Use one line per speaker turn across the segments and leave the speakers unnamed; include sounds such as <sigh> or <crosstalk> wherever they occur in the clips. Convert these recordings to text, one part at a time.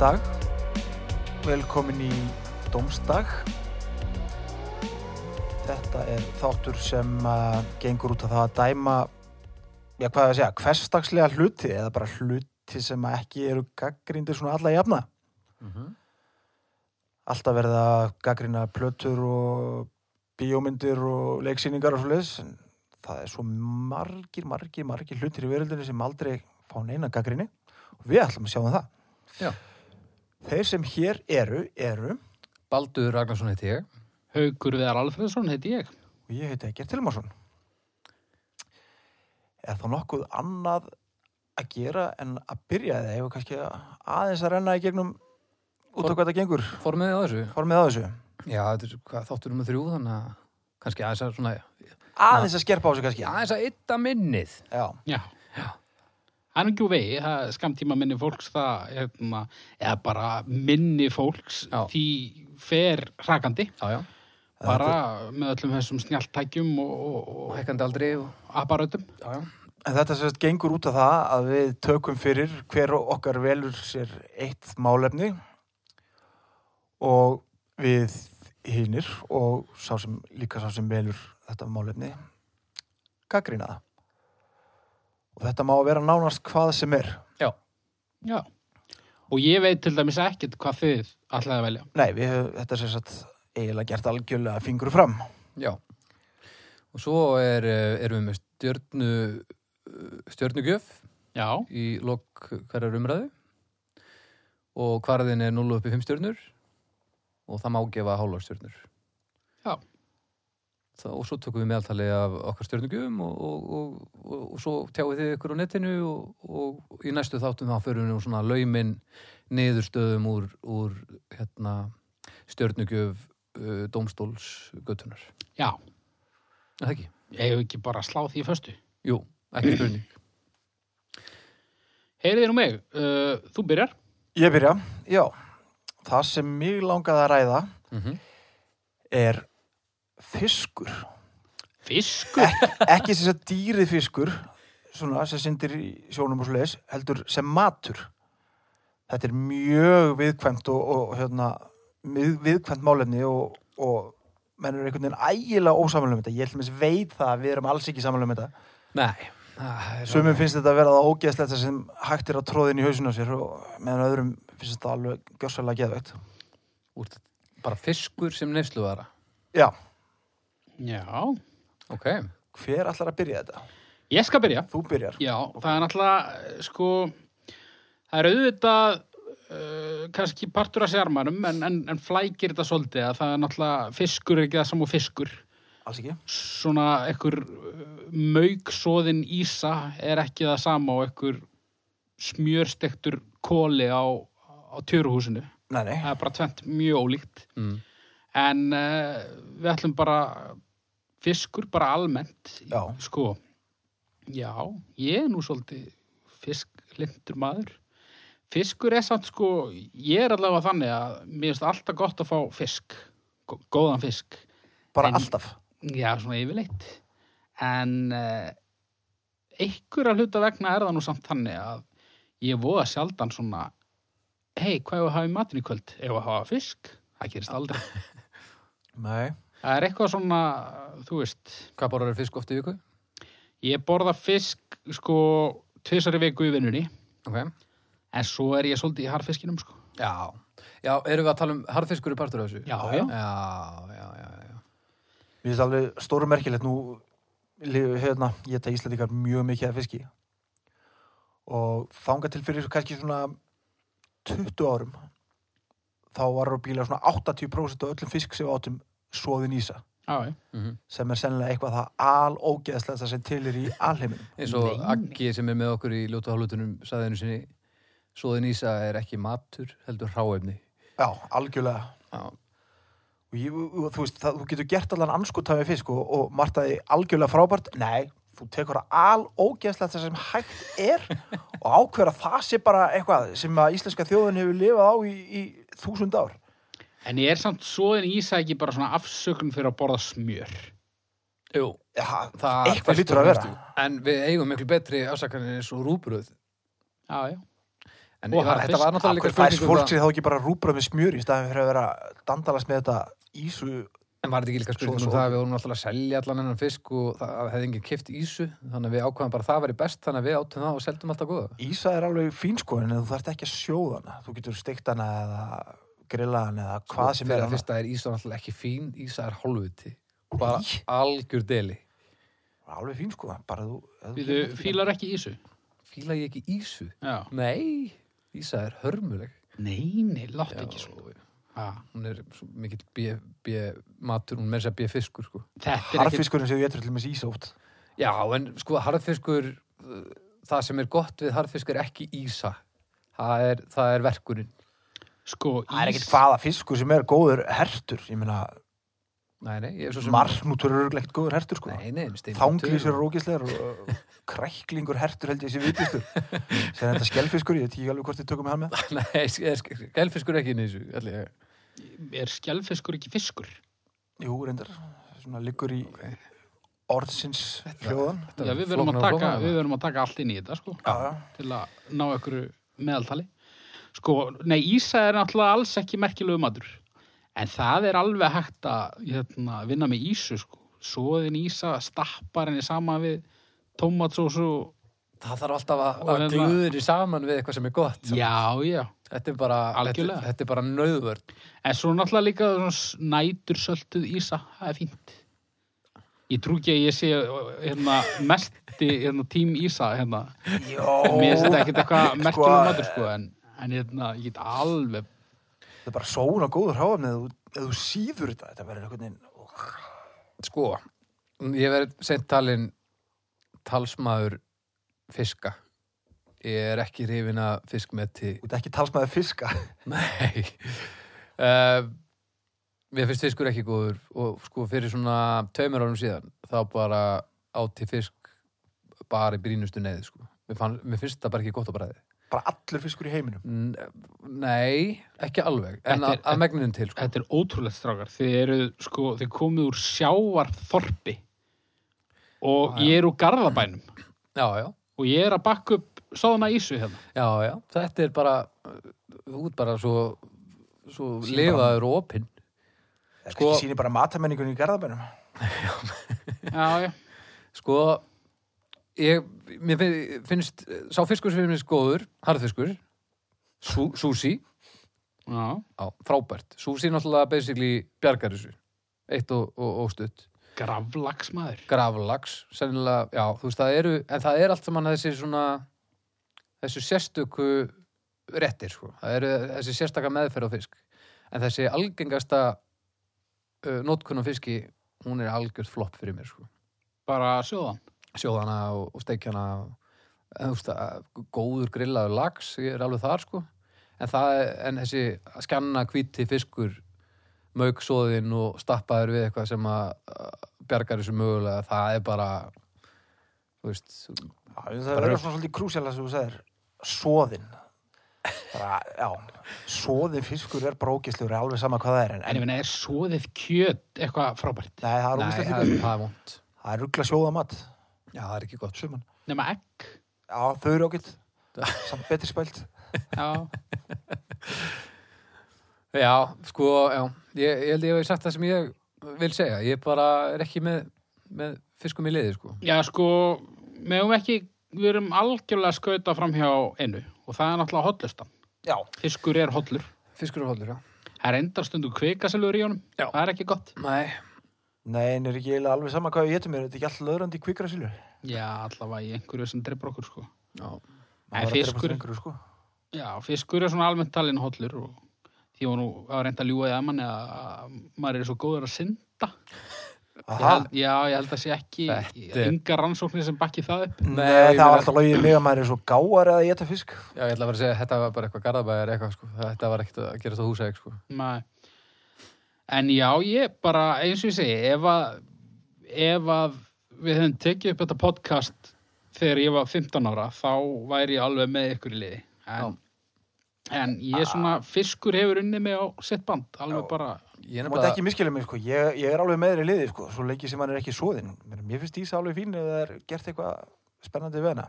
dag Velkomin í Dómsdag Þetta er þáttur sem uh, gengur út af það að dæma já, hvað er að segja, hversdagslega hluti eða bara hluti sem að ekki eru gaggrindir svona alla jafna Alltaf verða gaggrina plötur og bíómyndir og leiksýningar og svoleiðis en það er svo margir, margir, margir hlutir í veröldinni sem aldrei fá neina gaggrinni og við ætlum að sjá um það
Já.
Þeir sem hér eru, eru
Baldur Ragnarsson heiti ég.
Haugur Viðar Alfredsson heiti ég.
og ég heiti Egert Tilmarsson. Er þá nokkuð annað að gera en að byrja eða hefur kannski aðeins að renna í gegnum út á hvað það gengur,
Formið á þessu?
formið á þessu.
Já, þetta er hvað, þáttur um þrjú, þannig að kannski aðeins að svona,
Aðeins að skerpa á þessu kannski.
aðeins að ytta minnið.
Já,
Já. Það er ekki úr vegi, það er skamtíma minni fólks það, hérna, eða bara minni fólks,
Já.
því fer hrakandi,
Já, já.
bara með öllum þessum snjaltækjum og, og,
Hækkandi aldrei og,
og aparötum.
já, já.
en þetta sérst gengur út af það að við tökum fyrir hver og okkar velur sér eitt málefni og við hinnir og sá sem, líka sá sem velur þetta málefni gaggrina það. Og þetta má vera nánast hvað sem er.
Já,
Já. Og ég veit til dæmis ekkert hvað þið ætlaði að velja.
Nei, við höfum þetta sem sagt eiginlega gert algjörlega fingru fram.
já. Og svo er, eh, erum við með stjörnu, stjörnugjöf
Já.
í lok hverjar umræðu og hvarðin er 0 uppi 5 stjörnur og það má gefa hálfar stjörnur.
Já.
Þá, og svo tökum við meðaltali af okkar stjörnugjöfum og, og, og, og, og svo tjáið þið ykkur á netinu og, og í næstu þáttum þá förum við nú svona laumin niðurstöðum úr, úr hérna, stjörnugjöf uh, dómstóls göttunar.
Já.
Er það ekki?
Ég hef ekki bara að slá því föstu.
Jú, ekki spurning.
Heyriði nú mig, uh, þú byrjar.
Ég byrja, já. Það sem mig langaði að ræða
Mm
er fiskur.
Fiskur.
Ekki sem sagt dýrið fiskur, svona sem syndir í sjónum og svo leis, heldur sem matur. Þetta er mjög viðkvæmt og, og hérna, mið- viðkvæmt málefni og, og menn eru einhvern veginn ægilega ósamlega um þetta. Ég ætlum þess veit það að við erum alls ekki samlega um þetta.
Nei. Ah, er-
Sumum finnst þetta að vera það ógeðslegt sem hægt er að tróðin í hausinu á sér og meðan öðrum finnst þetta alveg gjössalega geðveikt.
Úr, bara fiskur sem nefsluvara.
Já,
Já.
Ok.
hver ætlar að byrja þetta?
Ég skal byrja.
Þú byrjar.
Já, það er náttúrulega, eh, sko, það er auðvitað uh, kannski partur af sérmanum, en, en, en flækir þetta svolítið að það er náttúrulega fiskur er ekki það saman fiskur.
Alls ekki.
Svona ekkur mauksóðin ísa er ekki það sama og ekkur smjörstektur kóli á, á tjöruhúsinu.
Nei, nei.
Það er bara tvent mjög ólíkt.
Mm.
En uh, við ætlum bara fiskur, bara almennt.
Já.
Sko, já, ég er nú svolítið fisklindur maður. Fiskur er samt sko, ég er allavega þannig að mér finnst alltaf gott að fá fisk, gó- góðan fisk.
Bara
En-
alltaf.
Já, svona yfirleitt. En uh, einhverja hluta vegna er það nú samt þannig að ég voða sjaldan svona hei, hvað er að hafa í matinn í kvöld? Ef að hafa fisk? Það gerist aldrei.
Nei.
Það er eitthvað svona, þú veist,
Hvað bara er fisk oft í viku?
ég borða fisk sko tvisari viku í vinnunni
Ok.
en svo er ég svolítið í harfiskinum sko.
Já, já, erum við að tala um harðfiskur í partur af þessu?
Já,
já,
já.
já, já, já.
Mér finnst alveg stóru merkilegt nú, lifu- hérna, ég teg Íslandikar mjög mikið af fiski. Og þanga til fyrir kannski svona 20 árum, þá var á bíla svona 80% af öllum fisk sem við áttum svoðin ísa.
Já, já.
Mm -hmm.
sem er sennilega eitthvað það alógeðslega sem til er í alheiminum.
Eins og
Nei.
Aggi sem er með okkur í ljótu hálfutunum saðinu sinni, svoðin ísa er ekki matur, heldur hráefni.
Já, algjörlega.
Já,
Og ég, og þú veist, það, þú getur gert allan anskota með fisk og, og martaði algjörlega frábært. Nei, þú tekur það alógeðslega sem hægt
<laughs>
er og ákveður að það sé bara eitthvað sem að íslenska þjóðin hefur lifað á í, í þúsund ár.
En ég er samt svoðin ísa ekki bara svona afsökun fyrir að borða smjör.
Jú,
Já,
það
eitthvað
fyrst
lítur
og
að
fremst.
vera.
En við eigum miklu betri afsakanir eins og rúbröð.
Já, já.
En
Og
ég var,
hafa
þetta var
fisk.
náttúrulega líka
Akkur fæst
spurning um
fólk
það-
sér þá ekki bara rúbröð með smjör í staðan fyrir að vera að dandalast með þetta ísu
En var þetta ekki líka spurning
Svo-
um
svo-
það að við vorum náttúrulega að selja allan hennan fisk og það hefði enginn kift ísu þannig að við ákvaðum bara að það væri best þannig að við átum það og seldum alltaf góða.
Ísa er alveg fín sko en þú þarft ekki að sjóða hana þú getur steikt hana eða grilla hana eða hvað
Sko,
sem
fyrir
er
að
hana
Fyrsta er ísa náttúrulega ekki fín, ísa er hálfuti. Bara
Í.
algjör deli.
alveg fín sko bara þú, ef
Við
þú
fílar ekki ísu.
Fíla ég ekki ísu?
Já.
Nei, ísa er hörmuleg.
Nei, nei, látt
Já,
ekki svona. Ha.
Hún er svo mikill bjö, bjö, matur, hún meir sér bjö fiskur sko.
Þetta er ekki...
harfiskurinn sem við getur til með ísa oft
Já, en sko harðfiskur, uh, það sem er gott við harðfiskur er ekki ísa. Það er, það er verkurinn.
Sko,
það er ekkit
ís...
hvaða fiskur sem er góður hertur ég meina
Nei, nei, ég er svo sem...
marnútur eru örugglega ekkit góður hertur sko
Nei, nei, steinbítur
þanglýsir
og-
eru ógislegar og og kræklingur hertur held ég sé vitistu sem er þetta skellfiskur ég veit ekki alveg hvort þið tökum með hann með
<laughs> Nei, gelfiskur ekki inn í þessu ætli ég.
Er skjálfiskur ekki fiskur?
jú reyndar svona liggur í orðsins hljóðan
Þetta
Já,
er
við verðum að
flóknara og
taka,
flóknara.
við verum að taka allt inn í þetta, sko.
Já, já.
Til að ná ykkur meðaltali. Sko, nei, ísa er náttúrulega alls ekki merkilegu matur. En það er alveg hægt að hérna, vinna með ísu, sko. Svoðin ísa, stappar henni saman við tómatsósu. og-
Það þarf alltaf að,
Og
að
hérna-
glúðri saman við eitthvað sem er gott
Já, já.
Þetta er bara, þetta,
Algjörlega.
þetta er bara nöðvörn
En svo náttúrulega líka svona nætur sölduð ísa, það er fínt. Ég trú ekki að ég sé hérna, mesti hérna, tím ísa hérna. Mér
Jó,
finnst þetta ekkert eitthvað merkjum
Sko,
matur sko, en, en hérna, ég get alveg
það er bara sóna góður hráfni eða þú, ef þú síður þetta, þetta verður einhvern veginn og
Sko, ég verið sent talin talsmaður fiska Ég er ekki hrifin að fiskmeti
þú ert ekki talsmaður fiska
<laughs> Nei uh, Mér finnst fiskur ekki góður og sko fyrir svona tveimur árum síðan þá bara átti fisk bara í brínustu neði sko. mér, fann, mér finnst það bara ekki gott á bræði
bara allur fiskur í heiminum
N- Nei, ekki alveg en
Þetta
að,
er-
að megninu til sko.
Þetta er ótrúlegt strákar Þið eru, sko, þið komið úr sjávarþorpi og
Já, já.
ég er úr garðabænum
Já, já,
og ég er að bakka upp sáðana ísu hérna
já, já Þetta er bara uh, út bara svo, svo
Sýn
lifaður og opinn
það sko,
Sko-
sýnir bara matamenningunni í garðabænum
Já, já,
Sko ég, Mér fin- finnst sá fiskur sem finnst góður, harðfiskur sú, Súsi
já.
Já, frábært. Súsi náttúrulega basically bjargar þessu. Eitt og, og, og stutt.
Graflagsmaður
Gravlags, sennilega, já, þú veist, það eru, en það er allt saman þessi svona, þessu sérstöku réttir, sko. Það eru þessi sérstaka meðferð á fisk. En þessi algengasta uh, notkun á fiski, hún er algjörð flopp fyrir mér, sko.
bara sjóðan
Sjóðana og, og steikjana og, en þú veist, að, góður grillaður lags, ég er alveg þar, sko. En það, en þessi að skanna hvíti fiskur, mauksóðin og stappaður við eitthvað sem að að bjargar þessu mögulega, það er bara, þú veist,
Já, það verður svona svolítið krúsjala sem þú segir soðin bara, já, soðin fiskur er brókislegur alveg sama hvað það er en,
En ég
en
meina, er svoðið kjöt eitthvað frábært?
nei, það er
nei, það,
ógislega
það
líka
er vond.
það er ruggla sjóða mat
Já, það er ekki gott.
suman.
Nema egg?
já, þau eru
<laughs>
ágætt samt betri spælt
Já,
Já, sko, já, ég, ég held ég hef sagt það sem ég vil segja, ég bara er ekki með, með fiskum í liði, sko.
Já, sko, við erum ekki, við erum algjörlega að skauta fram hjá einu og það er náttúrulega hotlustan.
já,
Fiskur er hotlur.
Fiskur og hollur, já.
Það er enda stundu kvikaselur í honum.
Já.
Það er ekki gott.
Nei,
nei, en er ekki eiginlega alveg sama hvað við getum er þetta ekki alltaf löðrandi í kvikra sílu
Já, allavega í einhverju sem dreipur okkur, sko.
já,
Nei, fiskur,
sko.
já, fiskur er svona almennt talin hotlur og því var nú að reynda að ljúga í að manni að að maður er svo góður að synda. Ég
Aha.
held, já, ég held að sé ekki
Þetta er-
yngar rannsóknir sem bakki það upp.
Nei,
Nei, ég
það
meina-
var alltaf logið mig að maður er svo gáar að geta fisk.
já, ég ætla að vera að segja, þetta var bara eitthvað garðabæjar eitthvað, sko, þetta var ekkert að gera þetta húsæk, sko.
Nei. Hérna, En já, ég bara, eins og ég segi, ef að, ef að við höfum tekið upp þetta podcast þegar ég var 15 ára, þá væri ég alveg með ykkur í liði. En, en ég er svona, fiskur hefur unni mig á sitt band, alveg
Já.
bara,
Ég er
Þú mátt
nefnilega,
ekki miskilja mig, sko. Ég, ég er alveg meðri liði, sko. Svo leikið sem hann er ekki svoðinn. Mér mér finnst Ísa alveg fín ef það er gert eitthvað spennandi við hana.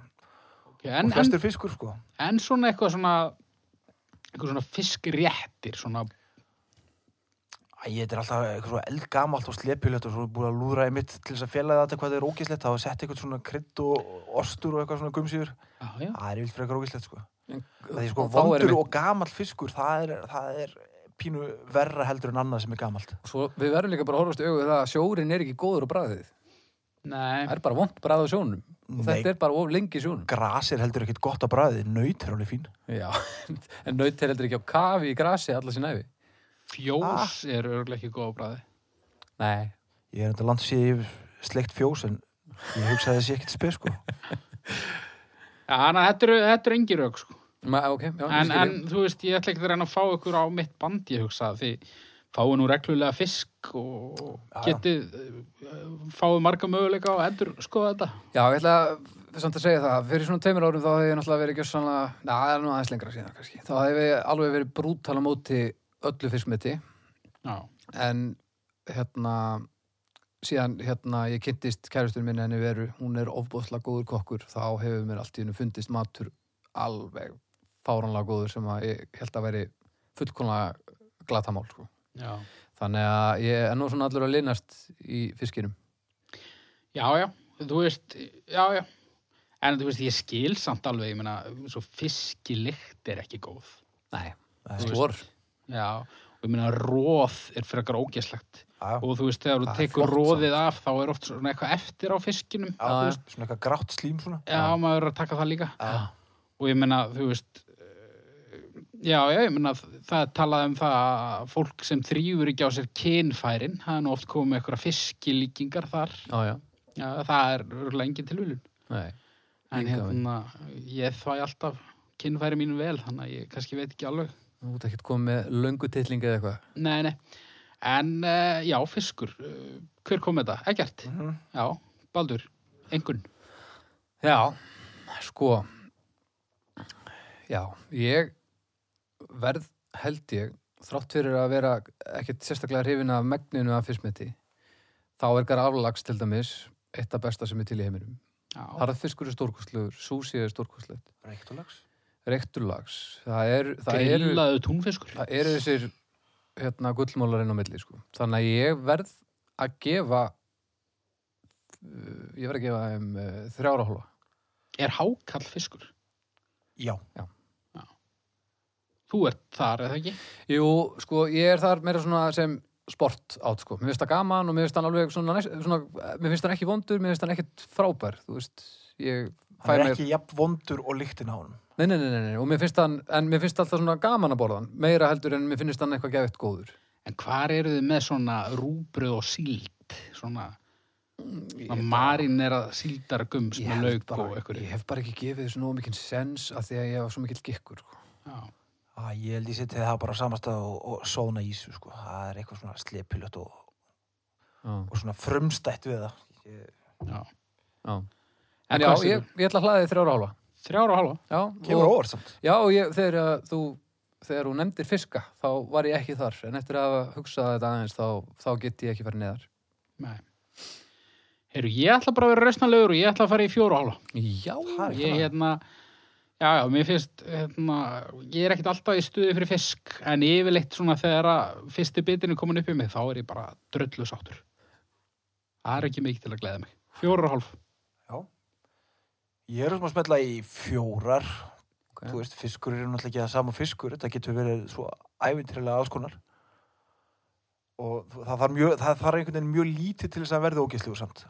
og
en, en,
flestur fiskur, sko.
en svona eitthvað svona, einhver svona fiskréttir svona,
Æ, þetta er alltaf eitthvað svo eldgamalt og slepjulegt og svo er búið að lúðra í mitt til þess að fela þetta hvað það er ógislegt, það var sett eitthvað svona krydd og ostur og eitthvað svona gumsýður
já, já,
það er yfir frekar ógislegt sko
En-
það er sko
og þá er
vondur
einmitt-
og gamall fiskur það er, það er pínu verra heldur en annað sem er gamalt
Svo við verðum líka bara að horfast í augu við það að sjórin er ekki góður á bræðið.
nei,
Það er bara vond bræð á sjónum. Og
Nei.
þetta er bara of lengi í sjónum.
gras er heldur ekkit gott á bræði, nöyt er alveg fín
Já, <laughs> en naut er heldur ekki á kafi í grasi allar sín æfi.
fjós er örgulega ekki góð á bræði.
Nei,
ég er enda langt sér sleikt fjós en ég hugsa að það sé ekkit spes sko
Já, þannig að þetta eru, þetta eru engi rauk, sko.
Ma, ok, já, ég
En,
skil
en
ég.
þú veist, ég ætla ekki að reyna að fá ykkur á mitt band, ég hugsa, því fáið nú reglulega fisk og
Já, já.
getið, eh, fáið marga möguleika og endur skoða þetta.
Já, ég ætla að, samt að segja það, fyrir svona teimur árum þá hefði ég náttúrulega verið gjössanlega, na, það er nú aðeins lengra síðan kannski, þá hefði ég alveg verið brútal á móti öllu fiskmeti,
Já,
en hérna, síðan hérna ég kynntist kærustur minni henni veru, hún er ofbóðslega góður kokkur, þá hefur mér allt í hennu fundist matur alveg fáranlega góður sem að ég held að veri fullkomlega glatamál, sko.
já.
Þannig að ég er nú svona allur að linast í fiskinum.
Já, já, þú veist, já, já. En þú veist, ég skil samt alveg, ég meina, svo fiskilikt er ekki góð.
Nei,
Nei.
slor.
Já, og ég meina, róð er frekar ógeslegt.
Já, já.
Og þú veist, þegar þú
Það er
tekur
flott
róðið af, þá er oft svona eitthvað eftir á fiskinum.
Já,
Já, já.
svona eitthvað grátt slím svona
Já, maður er að taka það líka.
Já.
Og ég meina, þú veist, eh, já, já, ég meina, það er talað um það að fólk sem þrýfur ekki á sér kynfærin, það er nú oft komið með eitthvað fiskilíkingar þar.
Já, já.
Já, það er örgulega engin tilvílun.
Nei.
En
Engan
hérna, ég þvæ alltaf kynfæri mínu vel, þannig að ég kannski veit ekki alveg.
Þú ert ekkert komið með löngu titling eða eitthvað.
Nei, nei. En uh, já, fiskur, uh, hver kom með þetta?
Mm.
Ekkert.
Mhm.
Já, Baldur, engun.
Já. Sko. Já, ég verð held ég, þrátt fyrir að vera ekkert sérstaklega hrifin af megninu af fiskmeti, þá er garaflags til dæmis eitt af besta sem er til í heiminum.
Já,
Harðfiskur er stórkostlegur, súsi er stórkostlegt,
Reykjulags
rektulags, það er, það eru-
grillaðu túnfiskur.
það eru þessir hérna, gullmólar inn á milli sko. þannig að ég verð að gefa uh, ég verð að gefa þeim uh, þrjára hólfa
Er hákall fiskur?
Já,
Þú ert þar, eða ekki?
jú, sko, ég er þar meira svona sem sport átt, sko, mér finnst það gaman og mér finnst það alveg svona, næst, svona mér finnst það ekki vondur, mér finnst það ekkit frábær þú veist, ég
hann er
mér-
ekki jafn vondur og líktinn á honum
nei, nei, nei, nei, nei, og mér finnst það en mér finnst alltaf svona gaman að borðan meira heldur en mér finnst það eitthvað gefitt góður
En hvar eru þið með svona rúbröð og síld? Svona,
Mm, Ég-
svona marinera síldargums
Ég held
með lauk
bara-
og eitthvað.
ég hef bara ekki gefið þessu nóg mikinn sens af því að ég hef svo mikill gikkur sko.
Já,
Æ, ég held ég seti það bara á sama stað og, og sóna í þessu sko það er eitthvað svona slepjulegt og,
Já.
og svona frumstætt við það Ég-
já.
Já.
En
En já,
hvað segirðu?
ég, ég ætla að hlaða þið þrjára hálfa.
Þrjára og halva?
Já,
kemur
og,
óvart samt
já og ég, þegar, uh, þú, þegar þú nefndir fiska, þá var ég ekki þar. En eftir að hugsa þetta aðeins, þá, þá get ég ekki farið neðar.
Nei. Heyrðu, ég ætla bara að vera rausnalegur og ég ætla að fara í fjóra og halva.
Já.
Það er
Ég,
ekki
hérna, já, já, mér finnst, hérna, ég er ekkit alltaf í stuði fyrir fisk, en yfirleitt svona þegar að fyrsti bitin er komin upp í mig, þá er ég bara dröllu sáttur. Það er ekki mikið til að gleða mig. Fjóra og halv.
Já. Ég er svona að smetla í fjórar.
Ok.
Þú veist, fiskur eru náttúrulega ekki það sama fiskur. Þetta getur verið svo æfintrilega alls konar. Og það þarf, mjög, það þarf einhvern veginn mjög lítið til þess að verða ógæstlegu samt.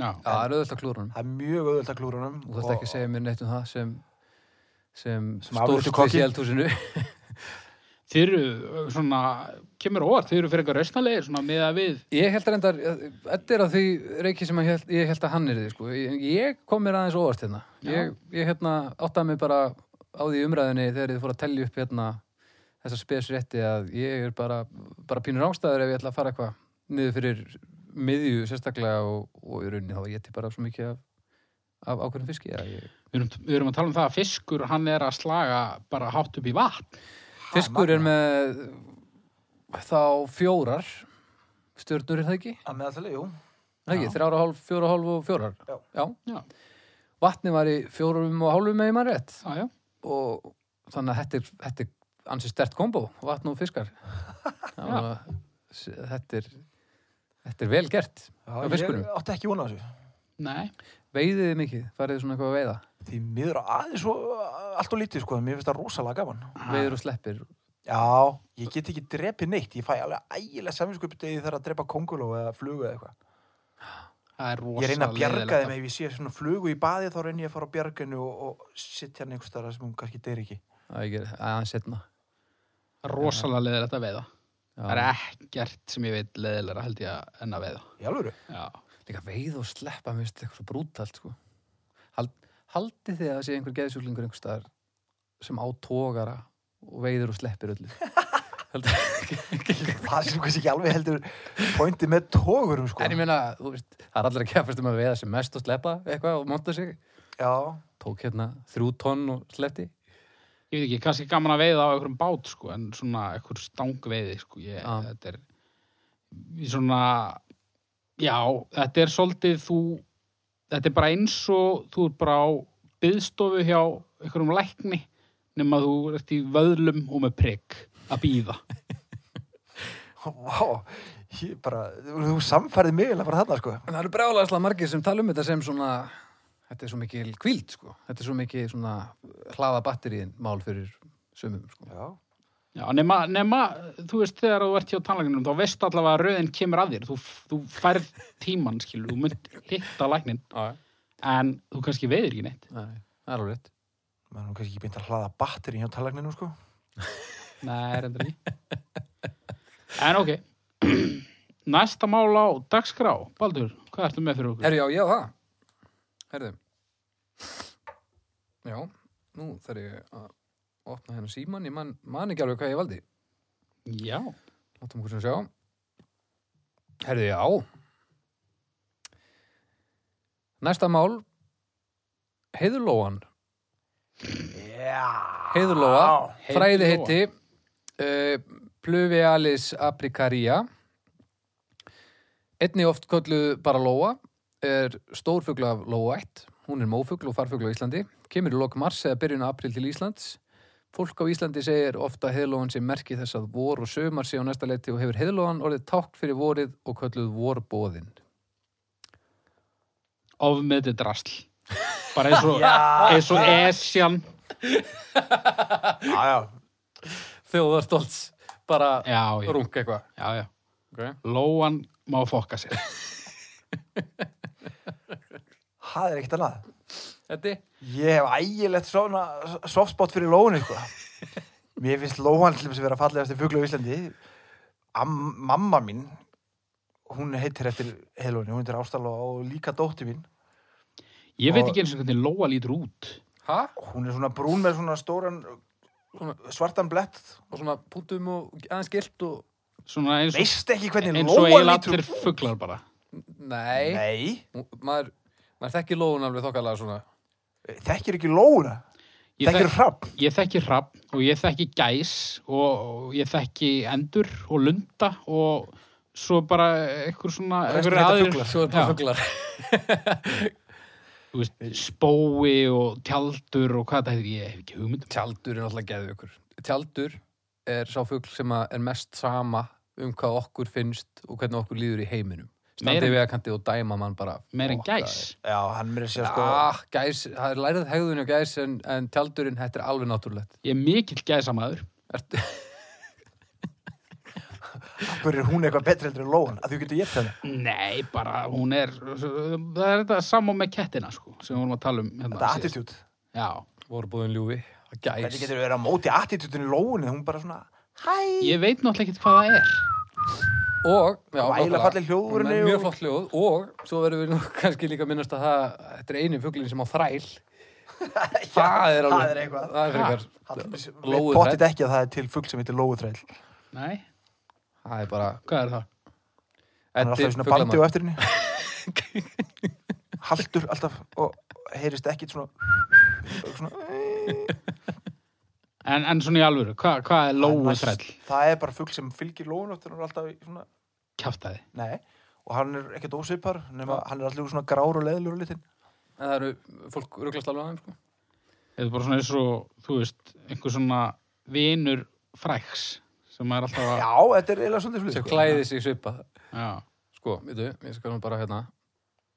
Já,
Það er auðvitað klúrunum.
Það er mjög auðvöld að klúra hann.
Þú þarft ekki að segja mér neitt um það sem, sem,
Sem
stórt
afréttu kokki.
við sjálfhúsinu.
þeir eru uh, svona, kemur á óvart, þeir eru fyrir eitthvað rausnalegir, svona með að við,
Ég held reyndar, þetta er að því reiki sem að ég held, ég held að hann er því, sko. Ég, ég kom mér aðeins óvart hérna. Ég, ég hérna áttaði mig bara á því í umræðinni þegar þið fór að tellja upp hérna þessar spesrétti að ég er bara, bara pínur ástæður ef ég ætla að fara eitthvað niður fyrir miðju sérstaklega og, og í rauninni þá ég til bara svo mikið af, af ákveðin fiski. að Ég,
við erum, við erum að tala um það að fiskur, hann er að slaga bara hátt upp í vatn.
fiskur er með þá fjórar, stjörnur er það ekki?
Að meðaltali, jú.
Er Það ekki,
Já.
þrjára hálf, fjóra hálf og fjórar.
Já.
Já.
Vatni var í fjórum og hálfum með í maður rétt
Já, já,
og þannig að þetta er, þetta er ansi stert kombo, vatn og fiskar Það
Já.
var- s- þetta er þetta er vel gert
Já,
fiskunum.
ég átti ekki vona þessu.
Nei,
veiðið þið mikið, farið þið svona eitthvað að veiða
Því miður aðeins svo allt og lítið sko, mér finnst það rosalega gaman.
veiður og sleppir
Já, ég get ekki drepið neitt, ég fæ alveg ægilega saminskupið þegar ég þarf að drepa konguló eða flugu eða eitthvað.
það er rosa
Ég reyna að bjarga þeim ef ég sé svona flugu í baði þá reyna ég að fara á bjarginu og, og sitja hann einhvers staðar sem hún kannski deyr ekki.
að ég er aðeins setna
Rosalega leðilegt að veiða. Það er
Já.
ekkert sem ég veit leðilega held ég að- en að veiða.
Í <laughs> alvöru?
Já.
líka veið og sleppa, mér finnst þetta eitthvað svo brútalt sko. Hald, haldið þið að það sé einhver geðsjúklingur einhver staðar sem á tógara og veiður og sleppir <laughs> öllu Haldið-
Það sem kannski ekki alveg heldur pointi með tógurum sko.
en ég meina, þú veist, það er allir að kefast um að veiða sem mest og sleppa eitthvað og monta sig
Já,
tók hérna þrjú tonn og sleppti
Ég veit ekki, kannski gaman að veiða á einhverjum bát, sko, en svona einhver stangveiði, sko, ég,
Já.
þetta er ég svona, já, þetta er svolítið þú, þetta er bara eins og þú er bara á byðstofu hjá einhverjum lækni, nema þú ert í vöðlum og með prigg að býða.
vá, ég bara, þú þú samfærði mig eða bara þarna sko.
En það eru brjálæðislega margir sem tala um þetta sem svona, þetta er svo mikil kvíld, sko. Þetta er svo mikil svona hlaða batteriðin mál fyrir sumum, sko.
Já,
Já, nema, nema, þú veist, þegar þú ert hjá tannlækninum, þá veist allavega að röðin kemur að þér, þú, þú færð tímann, skilur, þú mynd hitta læknin,
Já,
en þú kannski veiðir ekki neitt.
Nei, það er alveg rétt.
maður er nú kannski ekki beint að hlaða batterín hjá talagninu sko.
Nei, reyndar ekki. En ok, <clears throat> næsta mál á dagskrá. Baldur, hvað ertu með fyrir okkur?
Herru, já, já, það. Herru. Já, nú þarf ég að opna hérna síman. Ég man, man ekki alveg hvað ég valdi.
Já,
Látum okkur sem sjá. Herru, já. Næsta mál. Heiðurlóan.
Já.
Heiðurlóa,
Heiðurlóa.
fræði heiti uh, Pluvialis apricaria Einni oft kölluð bara lóa er stórfugl af lóætt hún er mófugl og farfugl á Íslandi kemur í lok mars eða byrjun april til Íslands Fólk á Íslandi segir ofta heiðlóan sem merki þess að vor og sömar sé á næsta leiti og hefur heiðlóan orðið tákn fyrir vorið og kölluð vorbóðin.
ofmiðti drasl. Bara eins
<laughs>
og, eins og Esjan.
Já, já,
Þjóðarstolts, bara
Já, já,
rung eitthvað.
já, já.
Okay.
Lóan má fokka sér.
það er ekkert annað.
Þetta?
Ég hef ægilegt svona softspot fyrir lóinu, sko.
<laughs>
Mér finnst lóan til þess að vera fallegast í fuglu á Íslandi. Am, mamma mín, hún heitir eftir heilóni, hún heitir Ástaló og líka dótti mín.
Ég veit
Og-
ekki eins og hvernig Lóa lítur út.
Hæ?
Hún er svona brún með svona stóran
Svona-
svartan blett.
Og svona punktum og aðeins gilt og
Svona eins og,
Veist ekki hvernig
eins og
lóan
eiginlega
lítur
allir fuglar bara.
Nei,
Nei,
Nú, maður, maður þekkir lóðun alveg þokkalega svona
þekkir ekki lóuna.
Ég,
Þekkir
þek,
hrapp.
ég þekki hrapp og ég þekki gæs og, og ég þekki endur og lunda og svo bara einhver svona...
Restin
einhverjir
heita
aðrir-
fuglar.
Svo er
Já.
bara fugglar
þú veist, spói og tjaldur og hvað þetta heitir, ég hef ekki um hugmyndum.
Tjaldur er náttúrulega geðu ykkur Tjaldur er sá fuggl sem að er mest sama um hvað okkur finnst og hvernig okkur líður í heiminum
Meira-
Standi við að kanti og dæma mann bara
Meir en
"Fokkaði."
gæs.
Já, hann mér sé sko...
Ah, gæs, það er lærið hegðun hjá gæs en, en tjaldurinn, þetta er alveg náttúrulegt
Ég er mikill gæsamæður.
Ertu,
Hver er hún eitthvað betri heldur en lóan? Að þú getur gett henni.
Nei, bara hún er, það er þetta samá með kettina, sko, sem við vorum að tala um hérna.
Þetta
síðast.
attitút.
Já,
voru búin ljúfi
Þetta
Gæs,
getur verið að móti attitútinu lóunni. Hún bara svona, hæ.
ég veit náttúrulega ekkert hvað það er.
og já,
Og ægilega
nákvæmlega.
falleg hljóðurinn
Með
og-
mjög flott hljóð og svo verðum við nú <laughs> kannski líka að minnast að það þetta er eini fugglinn sem á
<laughs>
þræl það er alveg
það er eitthvað.
það er frekar- Lóuþræll.
Pottit ekki að það er til fugg sem heitir lóuþræll
Nei,
það er bara
hvað er það?
Hann er alltaf í svona bandi á eftir henni Haldur alltaf og heyrist ekkit svona, svona
En, en svona í alvöru, hva, hvað er lóu þræll?
Það er bara fugg sem fylgir lóun og hann er alltaf í svona,
Kjaftaði.
nei og hann er ekkert ósipar nema hann er alltaf svona grár og leðlur og litinn
en það eru fólk rugglast alveg aðeins sko.
Þetta er bara svona eins og, þú veist, einhver svona vinur fræks sem maður alltaf að...
Já, þetta er eiginlega svolítið
sem
svolítið.
klæði sig svipa
Já.
sko, veitu, ég skal nú bara hérna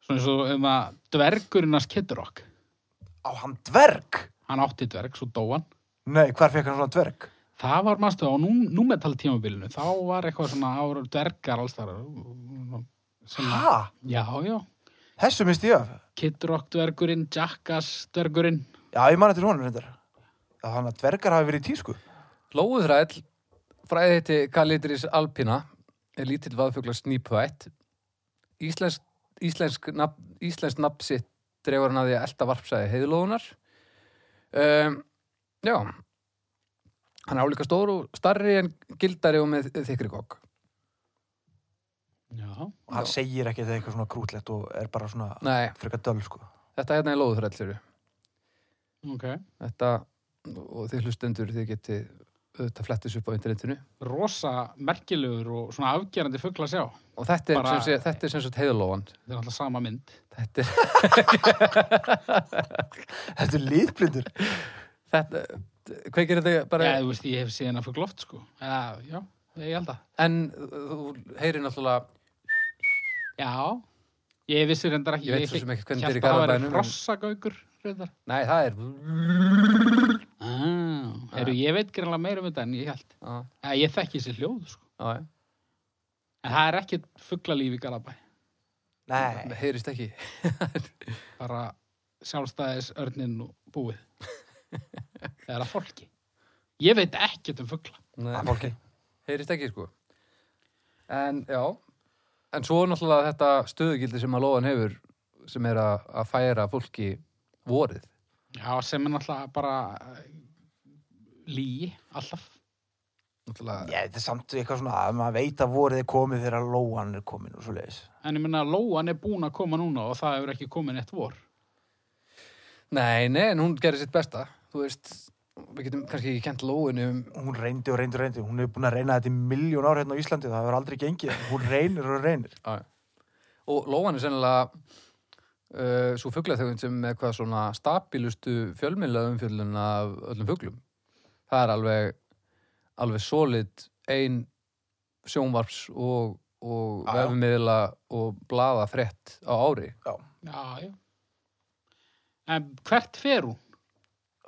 Svona eins og um að dvergurinn hans Kidrock.
Á hann dverg?
Hann átti dverg, svo dó hann.
Nei, hvar fekk hann svona dverg?
Það var mannstu á nú, númetal tímabilinu. Þá var eitthvað svona ára dvergar alls þar. Sem að-
Hæ?
Já, já.
Þessu misti ég af.
Kidrock dvergurinn, Jackass dvergurinn.
Já, ég man eftir honum reyndar. Já, Þannig að dvergar hafi verið í tísku.
Lóuþræll, fræði heiti Kalidris alpina, er lítill vaðfugla snýpvætt. Íslensk, íslensk, nafn, íslensk nafnsitt dregur hann að því að elta varpsæði heiðlóðunar. Um, já, hann er álíka stór og starri en gildari og með þykri kokk.
Já.
Og hann segir ekki þetta eitthvað svona krútlegt og er bara svona
Nei,
frekar döl, sko.
þetta hérna er lóuþræll fyrir.
Ok.
Þetta, og þið hlustendur, þið geti auðvitað flettis upp á internetinu.
Rosa merkilegur og svona afgerandi fugla sjá.
Og þetta er
Bara-
sem sé, þetta er sem sagt heiðlóðan.
Þetta er alltaf sama mynd.
Þetta er
Þetta er liðblindur.
þetta, kveikir þetta bara
Já, þú veist, ég hef séð hennar fugla oft, sko. Já, já, ég held að.
en uh, þú heyrir náttúrulega
Já, ég vissi reyndar ekki
Ég veit svo sem ekkert hvernig þetta er í
hélt að það væri
Garðabænum, en-
hrossagaukur reyndar
nei það er
ah, Heru, Ég veit greinlega meira um þetta en ég held
á,
ja, Ég þekki þessi hljóð sko.
á,
En það er ekkert fugglalíf í Garabæ
Nei.
heyrist ekki
Bara sjálfstæðis örnin og búið Það er að fólki Ég veit ekkert um fuggla
nei,
Það fólki.
<laughs> heyrist ekki sko en já en svo er náttúrulega þetta stöðugildi sem að lóðan hefur sem er að, að færa fólki vorið
Já, sem er náttúrulega bara eh, lígi alltaf
náttúrulega
Já, þetta er samt eitthvað svona að maður veit að vorið er komið þegar lóan er komin og svo leiðis.
En ég meina að lóan er búin að koma núna og það hefur ekki komin eitt vor
nei nei en hún gerir sitt besta þú veist við getum kannski ekki kent lóinu um
Hún reyndi og reyndi og reyndi. Hún hefur búin að reyna þetta í miljón ár hérna á Íslandi. Það hefur aldrei gengið. Hún reynir og reynir.
Já, já. Og lóan er sennilega uh, svo fuglaþögun sem er hvað svona stabilustu fjölmiðlega umfjöllun af öllum fuglum. Það er alveg, alveg solid ein sjónvarps og, og
Já, já.
vefmiðla og blaða frétt á ári.
Já, já En hvert fer hún?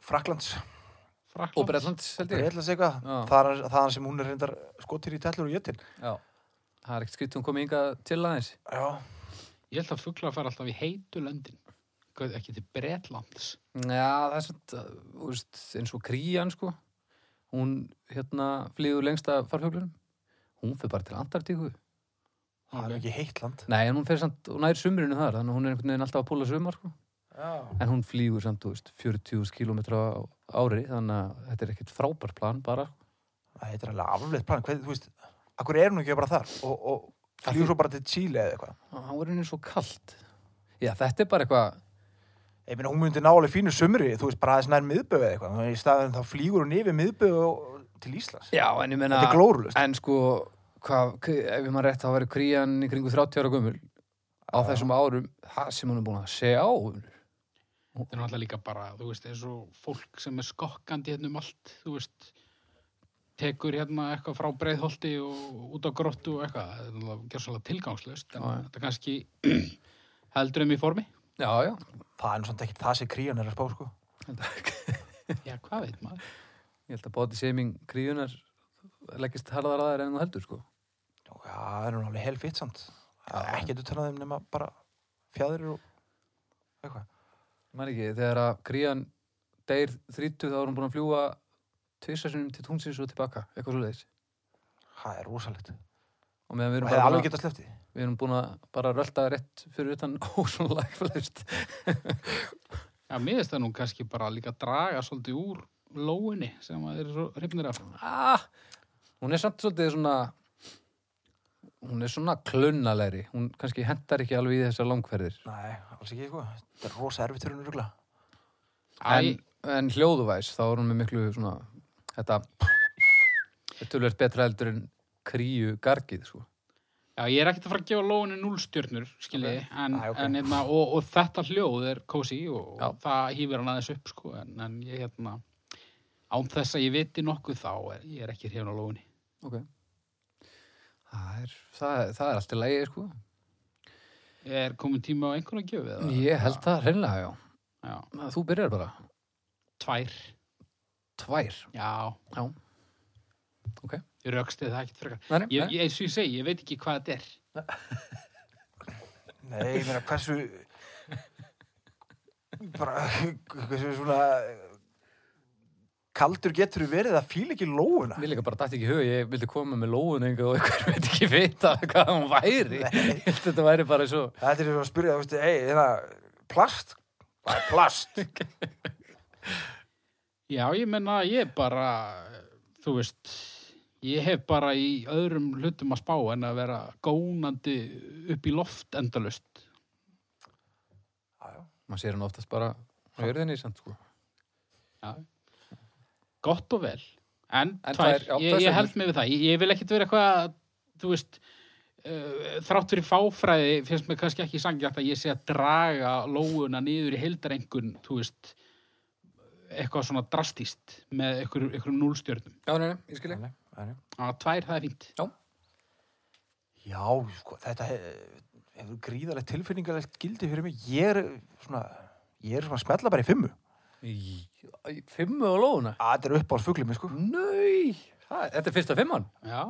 Fraklands.
Og
Frakkland?
Bretland, held
Ég
ég.
ætla að segja
Já.
hvað. Þaðan þaðan sem hún er reyndar skotir í tellur og jötin.
Já. Það er ekkert skritt hún komið hingað til aðeins.
Já.
Ég held að fuglar fara alltaf í heitu löndin Hvað- ekki til Bretlands
Já, það er svona, úrst, eins og krían, sko. Hún, hérna, flýður lengst að farfuglunum. Hún fyrir bara til Antartíku.
Það er
Ok.
ekki heitt land.
Nei, en hún fer samt, hún nær sumrinu þar, þannig að hún er einhvern veginn alltaf að púla sumar, sko.
Já.
En hún flýgur samt, þú veist, 40 km á ári, þannig að þetta er ekkert frábært plan bara. sko.
Það er alveg afleitt plan. Hvað, þú veist, akkur er hún ekki bara þar og, og
Það
flýur svo bara til Chile eða eitthvað.
Á árinu er svo kalt. Já, þetta er bara eitthvað,
Ég meina, hún myndi ná alveg fínu sumri, þú veist, bara aðeins nær miðböð eða eitthvað. Þannig að í staðin þá flýgur hún yfir miðböð og, til Íslands.
já, en ég menna,
Þetta er glórulust.
en sko, hvað, k- ef ég maður rétt, þá verið krían í kringu 30 ára gömul á þessum árum, það sem hún er búin að segja á. vinur.
þetta er náttúrulega líka bara, þú veist, eins og fólk sem er skokkandi hérna um allt þú veist, tekur hérna eitthvað frá breiðholti og út á grottu og eitthvað, þetta er náttúrulega gjörsalega tilgangslöst en
Já, já.
þetta kannski <clears throat> heldur um í formi
Já, já.
Það er nú samt ekkert það sem krían er að spá, sko.
já, hvað veit maður?
Ég held að bóti seiming kríunar leggist harðar að þær en þú heldur, sko.
Já, það er hún alveg helfitt samt. Það er ekkert utan að þeim nema bara fjæðir og eitthvað.
Man ekki, þegar að krían deyr 30 þá er hún búin að fljúa tvisarsunum til tungsins og tilbaka, eitthvað svo leiðis.
Það er rosalegt.
Og meðan við
Og
erum
hefði
bara,
alveg
búin
getað sleftið.
að- við erum búin að bara rölda rétt fyrir utan <laughs> ósónlega flest.
Já, mér finnst það nú kannski bara líka draga svolítið úr lóinni sem að þeir eru svo hrifnir af
Ah, hún er samt svolítið svona, hún er svona klunnalegri. Hún kannski hentar ekki alveg í þessar langferðir.
Nei, alls ekki, sko. Þetta er rosa erfitt fyrir hún rugla.
En,
Æ,
en hljóðuvæs, þá er hún með miklu svona, þetta, þetta er tölvöld betra heldur en kríu gargið, sko.
já, ég er ekkert að fara að gefa lóinni núlstjörnur, skiljiði en,
Æ, ok.
en hérna, og, og þetta hljóð er kósi og,
Já.
og það hýfir hann aðeins upp, sko en, en ég hérna án þess að ég viti nokkuð þá er, ég er ekki hrifin á lóunni
ok það er, það, það er alltaf lægi sko.
er komin tíma á einhverja gjöfu eða?
ég held það hreinlega já.
já,
þú byrjar bara
tvær,
tvær
já
já, ok
ég rauksti það ekkert frekar
Nei, nei,
ég,
nei.
ég, eins og ég segi, ég veit ekki hvað þetta er
Nei, ég meina, hversu bara, hversu svona kaldur getur þú verið að fíla ekki lóuna
Mér líka bara dætti ekki í hug, ég vildi koma með lóðunengu og einhver <laughs> veit ekki vita hvað hún væri. Ég held að þetta væri bara svo,
Þetta er svo að spyrja, þú veist, ei, þetta plast? Hvað er <laughs> plast?
Já, ég menna, ég bara, þú veist, ég hef bara í öðrum hlutum að spá en að vera gónandi upp í loft endalust.
Já, já.
maður sér hann oftast bara á jörðinni samt sko.
Já. Gott og vel. En,
En
tvær,
tvær, já, tvær
ég, ég held
stjörnur.
mig við það. Ég, ég vil ekkit vera eitthvað, þú veist, uh, þrátt fyrir fáfræði finnst mér kannski ekki sangjart að ég sé að draga lóuna niður í heildarengun, þú veist, eitthvað svona drastíst með einhverjum einhverjum núlstjörnum.
Já, nei, nei, ég skilja.
Nei, nei.
Að tvær, það er fínt.
Já, sko, þetta hef, hefur gríðarlegt tilfinningalegt gildi fyrir mig. Ég er eh, svona, ég er svona að smetla bara í fimmu.
Í, í- fimmu á lóðuna?
Að þetta er upp á mig, sko.
Nei, það, þetta er fyrsta fimman,
Já,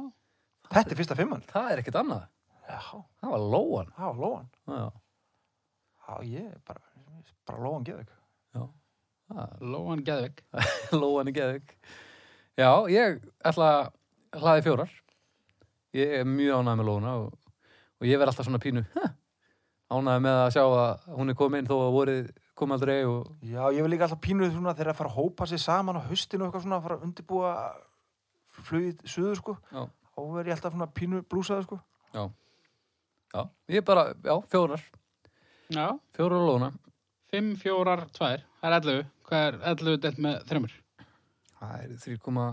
Þetta er fyrsta fimman.
það er ekkert annað.
Já,
Það var lóan.
já, lóan.
Já,
Já, ég er bara, bara lóan geða ykkur.
já. Það-
lóan geðvegg.
<laughs> Lóan er geðvik. Já, ég ætla að hlaði fjórar. Ég er mjög ánægð með lóuna og, og ég verð alltaf svona pínu. "Huh, Ánægð með að sjá að hún er komin þó að vorið kom aldrei og
Já, ég vil líka alltaf pínuð svona þegar að fara að hópa sér saman á haustinu og eitthvað svona að fara að undirbúa flugið suður, sko.
já,
Þá verð ég alltaf svona pínu blúsaði, sko.
já. Já, ég er bara, já, fjórar.
Já,
Fjórar á lóna.
5, 4, 2, það er 11. Hvað er 11 delt með 3?
Það er 3,...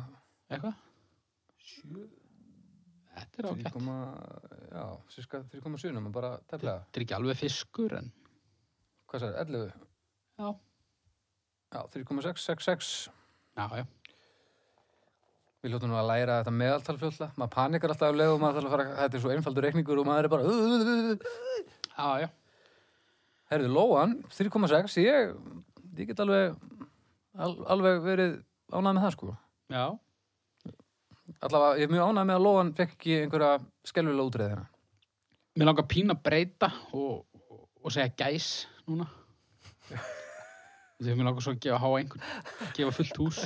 Eitthvað? 7. Þetta er ágætt.
3,... Já, sérska 3,7 nema bara tefnilega.
Þetta er ekki alveg fiskur en...
Hvað sér, 11?
Já.
Já, 3,666.
Já, já.
Við hljóttum nú að læra þetta meðaltal fljóðla. Maður panikar alltaf af leið og maður þarf að fara... Þetta er svo einfaldur reikningur og maður er bara...
Já, já.
Herðu, Lóan, 3,6. Ég, ég get alveg, al, alveg verið ánægð með það, sko.
Já,
Allavega, ég er mjög ánægð með að Lóan fekk ekki einhverja skelvilega útreðina.
mér langar pín að breyta og, og segja gæs núna. Þegar mér langar svo að gefa háa einhvern, gefa fullt hús.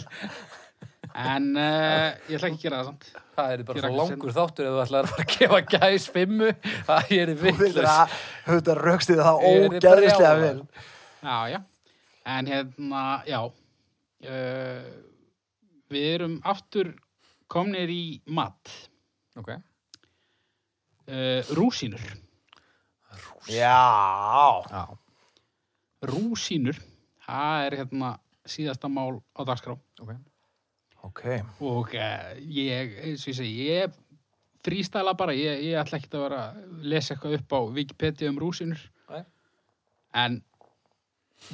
En uh, ég ætla ekki að gera það samt.
Það er bara
Gera
svo
ekki
langur þáttur ef þú ætlar að fara að gefa gæs fimmu. <laughs> Það er vittlust.
Þetta raukstið það
Ég er
ógerðislega
brjálaður.
vel.
Já, já. En hérna, já. Uh, við erum aftur komnir í mat.
Ok.
Uh, rúsínur.
Já.
Já.
Rúsínur, það er hérna síðasta mál á dagskrá.
Ok.
Ok.
Og uh, ég, eins og ég segi, ég frístæla bara, ég, ég ætla ekkert að vera að lesa eitthvað upp á Wikipedia um rúsínur.
Nei.
En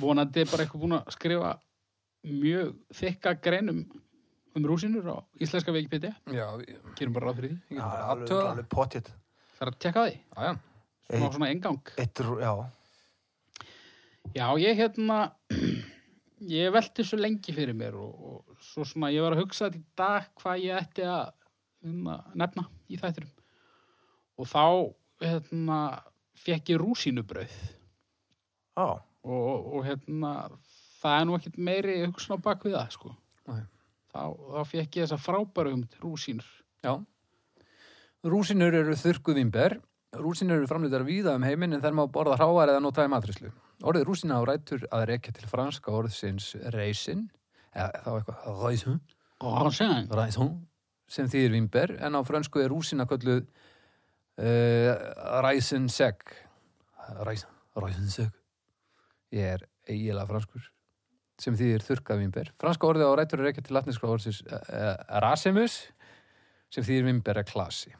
vonandi er bara eitthvað búin að skrifa mjög þykka greinum um rúsínur á íslenska Wikipedia.
Já, ég
gerum bara ráð fyrir því
ég
Já,
get bara
alveg,
aðtöða.
alveg potjett.
Það er að tekka því,
Já, já.
svona,
Eitt.
svona engang
Eitt, rú- já.
Já, ég hérna <clears throat> ég velti þessu lengi fyrir mér og, og svo svona ég var að hugsa þetta í dag hvað ég ætti að hérna, nefna í þætturum og þá hérna fekk ég rúsínubrauð
Já.
og, og hérna það er nú ekkert meiri hugsun á bak við það sko
Nei.
þá, þá fekk ég þessa frábæru um rúsínur
Já. Rúsinur eru þurrkuð vimber. Rúsinur eru framleitar víða um heiminn en þær má borða hráar eða nota í matrislu. Orðið rúsina á rætur að rekja til franska orðsins reisin, eða þá eitthvað reisin,
og hann segja það
reisin, sem þýðir vimber, en á frönsku er rúsina kölluð uh, reisin seg. Reisin, reisin seg. Ég er eiginlega franskur sem þýðir þurrkað vimber. Franska orðið á rætur að rekja til latniska orðsins uh, rasimus sem þýðir vimbera klasi.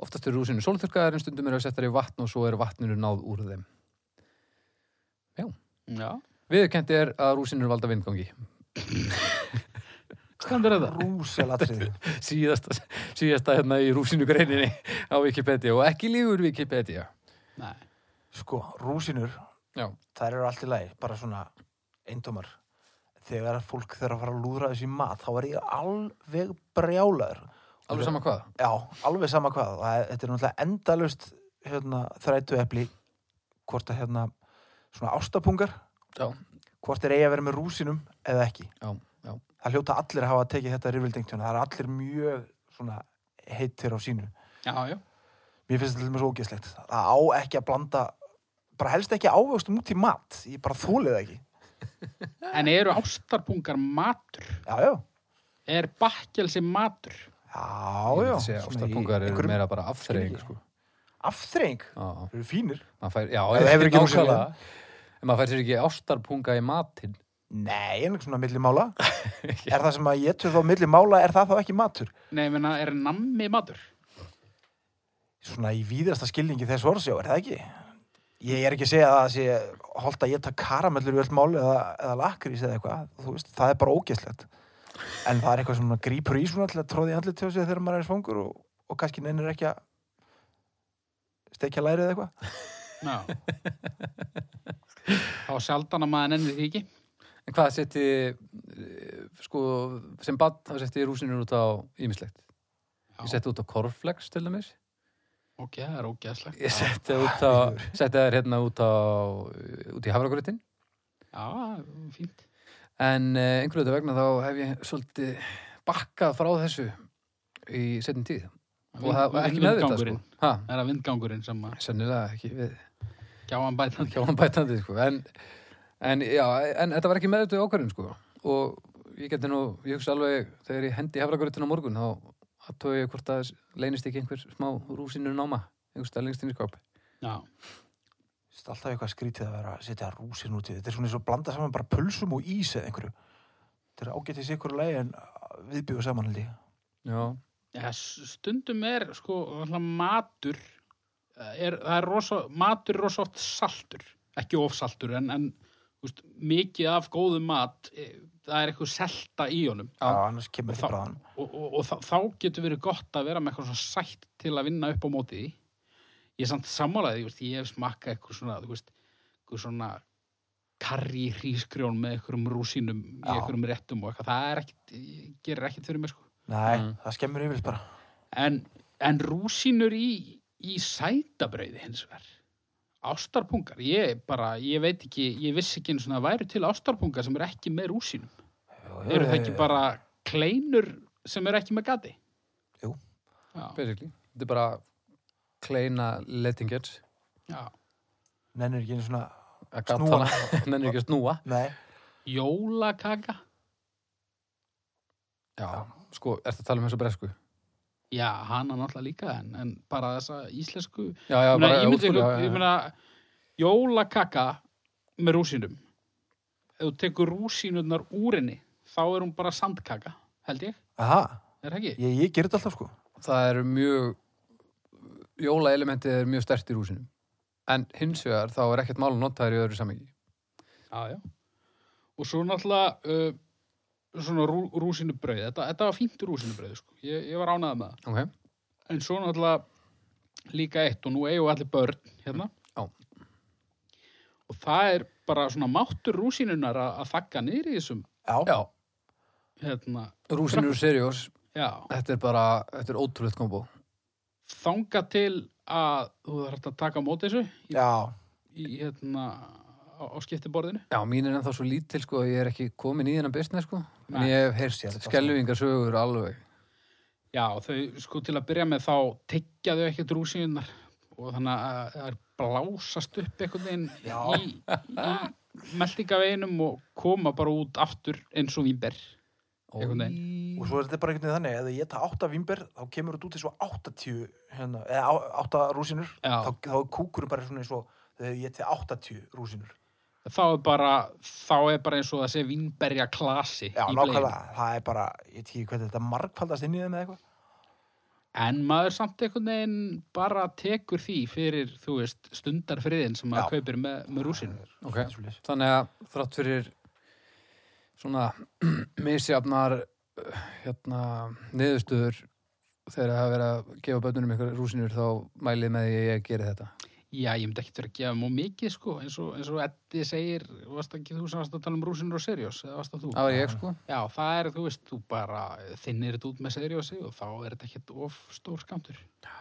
Oftast eru rúsinu sólþurkaðar en stundum eru að setja í vatn og svo er vatninu náð úr þeim.
Já,
Viðurkendi er að rúsinu valda vindgangi.
Stendur þetta?
rúselatriði
síðasta, síðasta hérna í rúsinu greininni á Wikipedia og ekki lífur Wikipedia
Nei.
sko, rúsinur,
Já,
þær eru allt í lagi bara svona eintómar þegar að fólk þegar að fara að lúðra þessi mat þá er ég alveg brjálaður
alveg sama hvað
já, alveg sama hvað það, þetta er náttúrulega endalaust hérna, þrætu epli hvort að hérna svona ástapungar
Já,
hvort er eigi að vera með rúsinum eða ekki
já, já,
það hljóta allir að hafa tekið þetta rifildengtjóna það er allir mjög svona heitir á sínu
Já, já.
mér finnst þetta til mér svo ógeðslegt það á ekki að blanda bara helst ekki ávöxtum út í mat ég bara þólið ekki
En eru ástarpungar matur?
já, já,
Er bakkelsi matur?
já, já
Ástapungar eru meira bara afþreying sko.
afþreying,
Já, já,
þeir eru fínir
maður fær, já,
Ef þú hefur ekki rúsínu.
nákvæmlega. en maður fær sér ekki ástarpunga í matinn
nei, en svona milli mála er það sem að ég töf þá milli mála er það þá ekki matur
Nei, ég meina, er nammi matur?
svona í víðasta skilningi þess orðsjá, er það ekki? Ég er ekki að segja að það sé holdt að ég takk karamellur í öll mál eða, eða lakrís eða eitthvað, þú veist, það er bara ógeðslegt en það er eitthvað sem maður grípur í svona til að tróði andlið til sig þegar maður er svangur og, og kannski neynir ekki að stekja lærið eða eitthvað
Já. Þá sjaldan að maður nennir því ekki.
En hvað setti eh, sko, sem bad þá setti ég rúsinur út á ímislegt
Já.
Ég setti út á Corflex til dæmis
Ok, það er ógeðslegt.
Ég setti út á setti þær hérna út á eh, út í hafragrötin
Já, fínt.
En eh, einhverju þetta vegna þá hef ég svolítið bakkað frá þessu í setjum tíð. Og það var ekki meðvitað sko.
Vindgangurinn.
Ha,
Það er að vindgangurinn sem að
sennilega ekki við
gjáan bætandi.
hjónabætandi sko. En, en já, en þetta var ekki meðvitað ákvörðin sko. Og ég geti nú, ég hugsa alveg þegar ég hendi hefragrötin á morgun þá aðtöðu ég hvort að leynist ekki einhver smá rúsinu náma einhvers stað lengst inn í skáp.
Já,
Þú veist, alltaf eitthvað skrítið að vera að setja rúsin út í þetta er svona eins og blanda saman bara pulsum og ís eða einhverju þetta er ágættis ykkur leið en viðbjöðu saman held ég
Já,
Já, s- stundum er sko náttúrulega matur eh, er, það er rosa, matur er rosa oft saltur, ekki ofsaltur en, en þú veist, mikið af góðum mat, eh, það er eitthvað selta í honum
Já, annars kemur
Þá-
þetta bráðan
og, og, og þá, þá getur verið gott að vera með eitthvað svona sætt til að vinna upp á móti því. Ég er samt sammálaði, veist, ég hef smakkað eitthvað svona, þú veist, eitthvað svona karri hrísgrjón með einhverjum rúsínum í
Já.
einhverjum réttum og eitthvað, það er ekkit, gerir ekkit fyrir mig sko.
Nei,
Mm.
það skemmur yfirleitt bara
En, en rúsínur í, í sætabrauði hins vegar. Ástarpungar, ég bara, ég veit ekki, ég vissi ekki einu svona að væru til ástarpungar sem eru ekki með rúsínum.
Jú, jú,
Eru
Eh.
það
jú,
ekki
jú.
bara kleinur sem eru ekki með gati?
Jú.
Já,
basically. Þetta er bara kleina lettingers.
já.
eh, Nennir ekki einu svona Snúa.
að gatana, mennir ekki að snúa
<laughs> Nei,
Jólakaka?
já, sko, ertu að tala um þessu bresku
Já, hana náttúrulega líka en, en bara þessa íslensku
já, já,
Ég meina,
bara
ég myndi,
ótrúlega,
ég meina jólakaka með rúsínum ef þú tekur rúsínurnar úr henni þá er hún bara sandkaka held ég,
aha,
er það ekki?
ég, ég ger þetta alltaf sko
það er mjög jólaelementið er mjög stert í rúsinum en hins vegar þá er ekkert mál að nota þær í öðru samingi
Já, já og svo náttúrulega uh, svona rú, rúsinubrauð þetta, þetta var fínt rúsinubrauð sko. ég, ég var ánægð með það
okay.
en svo náttúrulega líka eitt og nú eigum við allir börn hérna
Já.
og það er bara svona máttur rúsinunar að, að þakka niður í þessum
Já,
já,
hérna,
rúsinur seriós
já
þetta er bara, þetta er ótrúlegt kombo
þanga til að þú þarf að taka á móti þessu í,
já,
í, hérna, á, á skiptiborðinu
já, mín er ennþá svo lítil sko, að ég er ekki komin í þennan business sko en
Nei.
ég hef
Sér
heyrst
þetta
skelvingarsögur alveg
já, þau sko til að byrja með þá tekja þau ekkert rúsinunar og þannig að það er blásast upp einhvern
Já.
veginn í, í meldingaveginum og koma bara út aftur eins og vínber Einhvern
og svo er þetta bara einhvern veginn þannig eða ég ta átta vimber, þá kemur þetta út í svo 80 hérna, eða á- átta rúsinur
Já.
þá, þá er kúkurinn bara svona eins og þegar ég til 80 rúsinur
þá er bara þá er bara eins og það sé vínberja klasi
Já,
í
nákvæmlega, það er bara ég veit ekki hvernig þetta margfaldast inn í þeim eða eitthvað
En maður samt einhvern veginn bara tekur því fyrir, þú veist, stundarfriðin sem maður
Já.
kaupir með, með rúsinu.
okay.
Svoleiðis.
Þannig að þrátt fyrir svona <clears throat> misjafnar eh, hérna, niðurstöður þegar það hafa verið að gefa bönnunum ykkur rúsinur þá mælið með því að ég geri þetta
Já, ég myndi ekkert vera að gefa mjög mikið sko, eins og, eins og Eddi segir, varst ekki þú sem varst að tala um rúsinur og seriós, eða varst það þú?
það var ég sko
Já, það er, þú veist, þú bara þinnir þetta út með seriósi og þá er þetta ekkert of stór skamtur.
þá,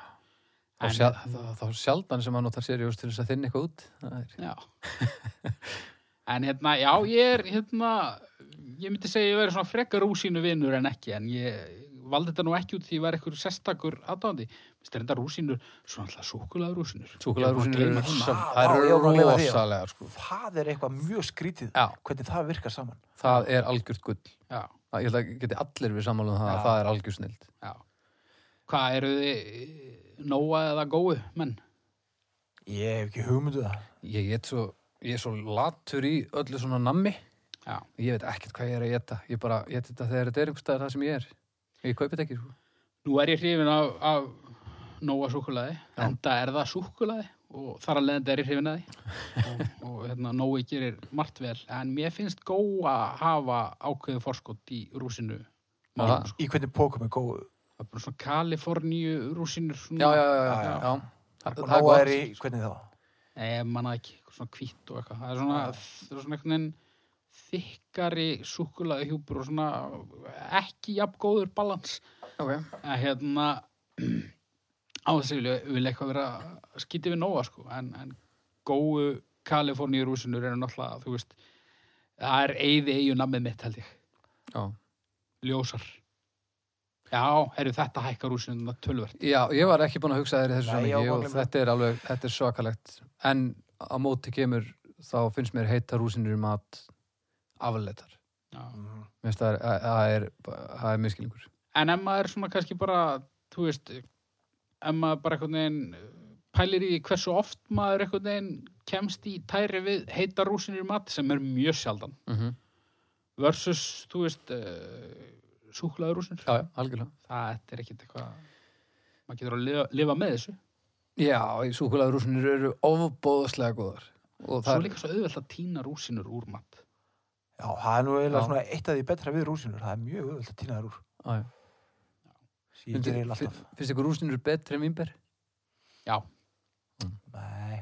En-
sjal, þá, þá sjaldan sem að nota seriós til þess að þinni eitthvað út það er,
Já. <laughs> en hérna, já, ég er, hérna, ég myndi segja ég verið svona frekar rúsínu vinur en ekki, en ég valdi þetta nú ekki út því ég var eitthvað sestakur aðdáðandi. Mér styrir þetta rúsínur, svona alltaf súkulega rúsínur.
súkulega
Ég var að gleyma
rúsinur
því.
Vá, ég
það
var
eru
búin að gleyma því.
rosalega sko
Það er eitthvað mjög skrítið
Já.
hvernig það virkar saman.
það er algjört gull
Já,
Það- ég held að geti allir við sammála um það að
Já.
það er algjör snild
já. Hvað eru þið, nóa eða góu, menn?
Ég hef ekki hugmynduð það.
ég get svo, ég er svo latur í öllu svona nammi
Já.
ég veit ekkert hvað ég er að geta ég bara get þetta þegar þetta er einhvers staðar það sem ég er ég kaupi þetta ekki sko.
Nú er ég hrifin af, af nóa súkulaði,
Já.
en það er það súkulaði og þar að leiðandi er ég hrifin að því og, og hérna, nói gerir margt vel, en mér finnst góa hafa ákveðið forskot í rúsinu
Aha.
málum, sko.
Í hvernig pókum er góðu.
það er bara svona Kaliforníu rúsinur
já,
svona,
já, já, já, já.
Já.
já.
Það
Það,
er bara
það er
Nóa
gott
er í hvernig það.
Nei, ég manna ekki, eitthvað svona hvít og eitthvað það er svona, það er svona einhvern veginn þykkari súkulaði hjúpur og svona ekki jafn góður balans
okay.
að hérna <clears throat> á þessu vilja, vilja eitthvað vera skítið við nóa sko en, en góðu Kaliforníu rúsinur eru náttúrulega þú veist það er eyði eigu namið mitt held ég
já.
ljósar já, eru þetta hækkar rúsinuna tölvert
já, ég var ekki búin að hugsa þér í þessu
Nei, ég var
samingi
bara að
og
gleyma.
þetta er alveg, þetta er svakalegt en á móti kemur þá finnst mér heita rúsinur í mat afleitar
já.
Mm.
Mér finnst það er, að- það er, það er miskilingur
en ef maður er svona kannski bara þú veist ef maður bara einhvern veginn uh, pælir í því hversu oft maður einhvern veginn kemst í tæri við heita rúsinur í mat sem er mjög sjaldan
mm -hmm.
versus þú veist uh, súklaður rúsinur
já, já, algjörlega
það þetta er ekkit eitthvað maður getur að lifa, lifa með þessu
já, súkulega rúsinur eru ofbóðslega góðar og
svo
það
er
er
líka svo auðvelt að týna rúsinur úr mat
Já, það er nú eiginlega
Já.
svona eitt af því betra við rúsinur. Það er mjög auðvöld að týna þær úr.
Já, já.
Ég gerir eiginlega
Fin-
alltaf.
finnst ykkur rúsinur betri en vimber?
Nei,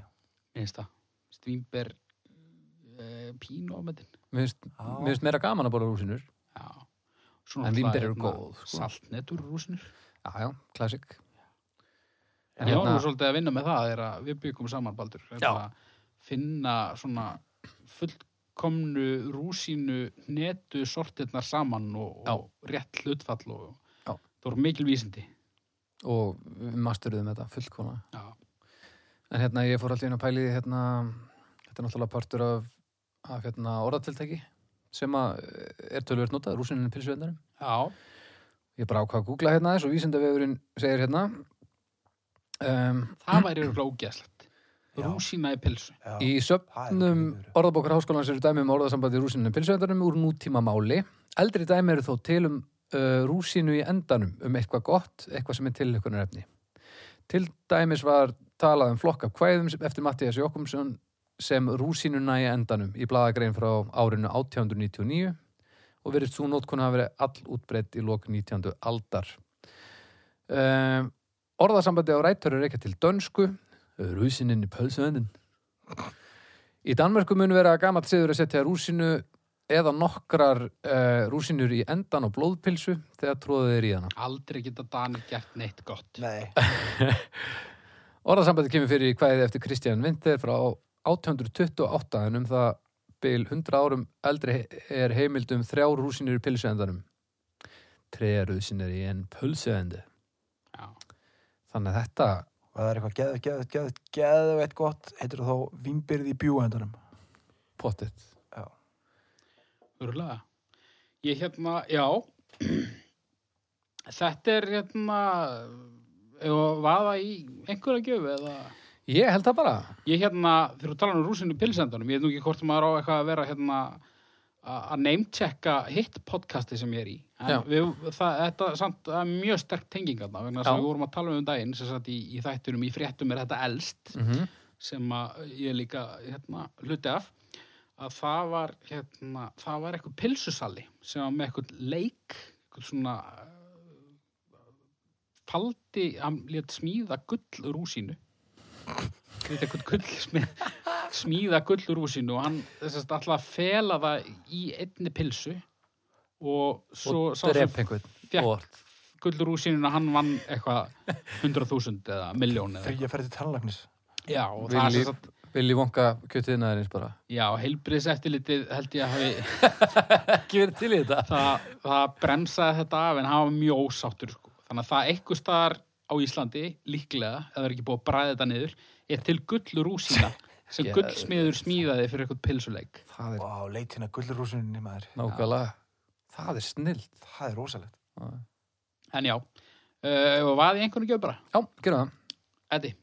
minnst það, stvímber e, pínu ámetin
Mér finnst-
Já.
mér finnst meira gaman að bóla rúsinur
já Svona
En
náttúrulega,
vínber eru
hérna,
góð, sko.
saltnetur úr rúsinur
já, já, klassik
en ég var nú svolítið að vinna með það er að við byggum saman baldur
hérna- Já.
að finna svona fullkomnu rúsinu netu sortirnar saman og, og rétt hlutfall og
Já.
það voru mikil vísindi
og við masteruðum þetta fullkona
já,
en hérna ég fór alltaf inn að pæli því hérna, þetta er náttúrulega partur af, af hérna, orðatiltæki sem að eh, er tölvöld notað, rúsinnin pilsveindarum
já.
ég bara ákvað að googla hérna þess og vísindavefurinn segir hérna um,
það væri örugglega ógeðslegt
Já.
rúsina í pilsu
já.
í söpnum orðabókar háskólans eru dæmi um orðasambandi rúsinnin pilsveindarum úr nútíma máli eldri dæmi eru þó til um uh, rúsinu í endanum um eitthvað gott, eitthvað sem er tilhökunar efni Til dæmis var talað um flokk af kvæðum sem- eftir Mattias Jókumsson sem rúsínuna í endanum í bladagrein frá árinu 1899 og verið svo nótkunn að verið all útbreytt í lok 19. aldar. Um, orðasambandi á rættöru reykja til dönsku, rúsinin í pölsuöndin. Í Danmörku mun vera gamall siður að setja rúsinu eða nokkrar uh, rúsinur í endan á blóðpilsu þegar tróðið er í hana.
aldrei geta Danir gert neitt gott
Nei,
Orðasambandi kemur fyrir í kvæði eftir Kristján Vinter frá 828 en um það byl 100 árum eldri er heimildum þrjár rúsinir í pilsuendanum. Tregar rúsinir í en pulsuendi.
já,
Þannig að þetta,
og það er eitthvað geðvægt, geðvægt, geðvægt, geðvægt gott, heitir það þá vimbyrði í bjúaendanum.
pottit.
örgulega ég hérna, já <clears throat> þetta er hérna og vaða í einhverja gjöfu eða
Ég held það bara.
ég hérna, þegar þú talar um rúsinu pilsendunum ég veit nú ekki hvort maður á eitthvað að vera hérna að að name-checka hitt podcasti sem ég er í
Já.
en við, það, þetta samt, það er mjög sterk tengingarna vegna þess
Já.
að við vorum að tala um um daginn sem sagt í, í þættunum í fréttum er þetta elst
Mm -hmm.
sem að ég líka hérna, hluti af að það var, hérna, það var eitthvað pilsusalli sem var með eitthvað leik, svona eh, faldi, hann lét smíða gull úr húsinu lét eitthvað gull smið, smíða gull úr húsinu og hann þessast alltaf fela það í einni pilsu og svo
og
sá sem
drep einhvern
fékk-
og
gull úr húsinu hann vann eitthvað 100.000 eða miljón eða
Þegar ég ferði til tannlæknis.
eitthvað já, og það er
vilji,
sem sagt
vilji vonka kjötiðnaðurins bara
já, heilbriðseftilitið held ég að hafi
ekki verið til í þetta
það, það bremsaði þetta af en hann var mjög ósáttur sko. þannig að það eitthvað staðar á Íslandi líklega, ef það er ekki búið að bræða þetta niður er til gullur úsina sem
Geðveikt.
gullsmiður smíðaði fyrir eitthvað pilsuleik
það er
Vá, leitina gullurúsunni maður.
nákvæmlega það er snill
Það er rosalegt.
en já, uh, og vaði einhvern ekki bara,
já, gera það
Eddi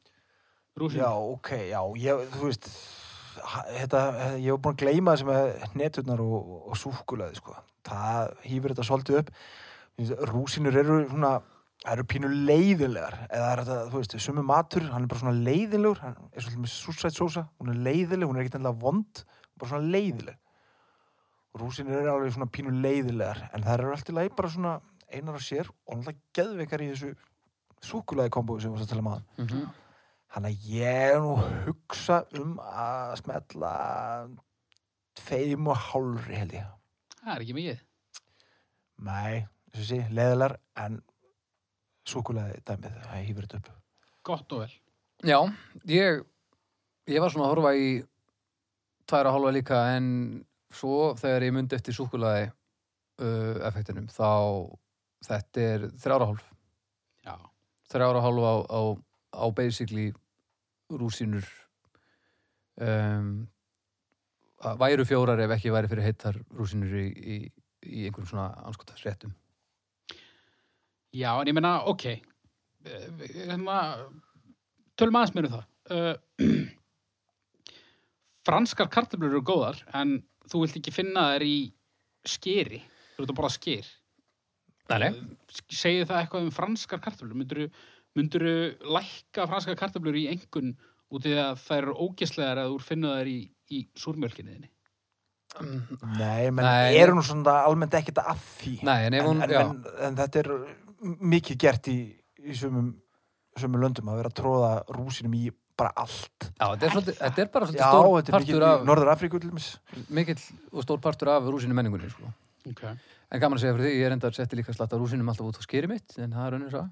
rúsin,
Já, ok, já, ég, þú veist, ha- þetta, eh, ég var búin að gleyma þessi með neturnar og, og súkkulaði, sko. Það hýfur þetta svolítið upp. Ég veist, Rúsinur eru svona, það eru pínu leiðilegar. Eða er þetta, þú veist, sumu matur, hann er bara svona leiðilegur, hann er svolítið með súsætt sósa, hún er leiðileg, hún er ekkert endilega vond, bara svona leiðileg. Rúsinur eru alveg svona pínu leiðilegar, en það eru alltaf leið bara svona einar og sér og náttúrulega geðveikar í þessu súkkulaði kombói sem við varum að tala um maður.
mm
Mhm.
Þannig að ég er nú að hugsa um að smetla tveim og hálfri held ég.
það er ekki mikið
Nei, þessu sé, leðilar en súkulega dæmið, það hýfur þetta upp.
gott og vel,
já, ég ég var svona að horfa í tværa hálfa líka en svo þegar ég myndi eftir súkulaði uh, effektinum þá þetta er þrjára hálf
já,
þrjára og hálfa á, á, á basically rúsínur um, að væru fjórar ef ekki væri fyrir heitar rúsínur í, í, í einhverjum svona anskotas réttum
já, en ég meina ok, Eh, við- hérna tölum aðeins mér um það uh, <clears throat> franskar kartöflur eru góðar en þú vilt ekki finna þær í skeri, þú ert að borða sker
Nei,
segir það eitthvað um franskar kartöflur myndur, myndur lækka franskar kartöflur í engun út í að þær eru ógeslegar að þú finna þær í, í súrmjölkinni þinni
Nei, menn
Nei.
eru nú svona almennt ekkert að því.
Nei, en ef hún,
en,
já,
en, en þetta er mikið gert í, í sumum, sumum löndum að vera að tróða rúsinum í bara allt.
já þetta, er svolítið, þetta er bara
Já,
svolítið stór
þetta er
partur
mikið
af,
í Norður Afríku til dæmis.
mikill og stór partur af rúsinu menningunni, sko.
okay.
En gaman að segja fyrir því, ég er enda að setja líka slatta rúsinum alltaf út á skeri mitt, en það er önnur sá.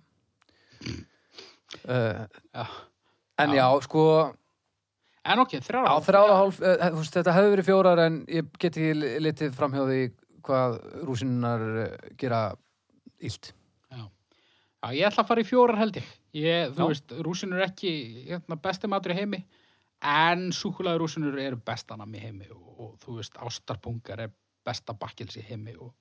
Uh,
Já.
en já, sko,
en ok, þrjára
á þrála hálf, uh, veist, þetta hefur verið fjórar en ég get ekki li- litið framhjá því hvað rúsinunar eh, gera illt.
Já, ég ætla að fara í fjórar held ég. ég þú
Já.
veist, rúsinur er ekki hérna, besti matur í heimi, en súkulaði rúsinur eru bestanam í heimi og, og þú veist, ástarpungar er besta bakkels í heimi og,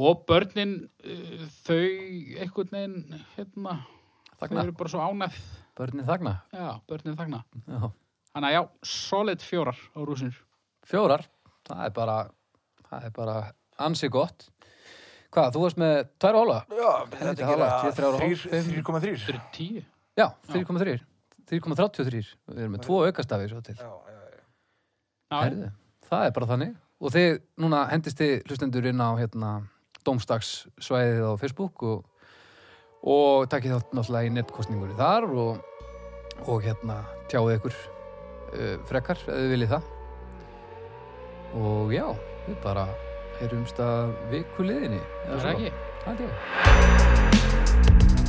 og börnin, uh, þau einhvern veginn, hérna, þau
Þagna,
eru bara svo ánæð.
börnin þagna.
Já, börnin þagna.
Já.
Þannig að já, solid fjórar á rúsinur.
Fjórar, það er bara, það er bara ansi gott. Hvað, þú varst með tvær og hóla?
Já, þetta
hálft, ég er
er
þrjár og hálf,
þrír-
fimm.
3,3.
Þau eru tíu.
Já, 3,3 3,33 Við erum með tvo aukastafi svo til
Já, já, já.
Já,
Herðu, Það er bara þannig Og þið, núna hendist þið hlustendur inn á hérna, Dómstagssvæðið á Facebook og, og takkið þátt náttúrulega í netkostningunni þar og, og hérna tjáðu ykkur uh, frekar ef þið viljið það Og já, við bara erum stað vikuliðinni
það er ekki.
Það er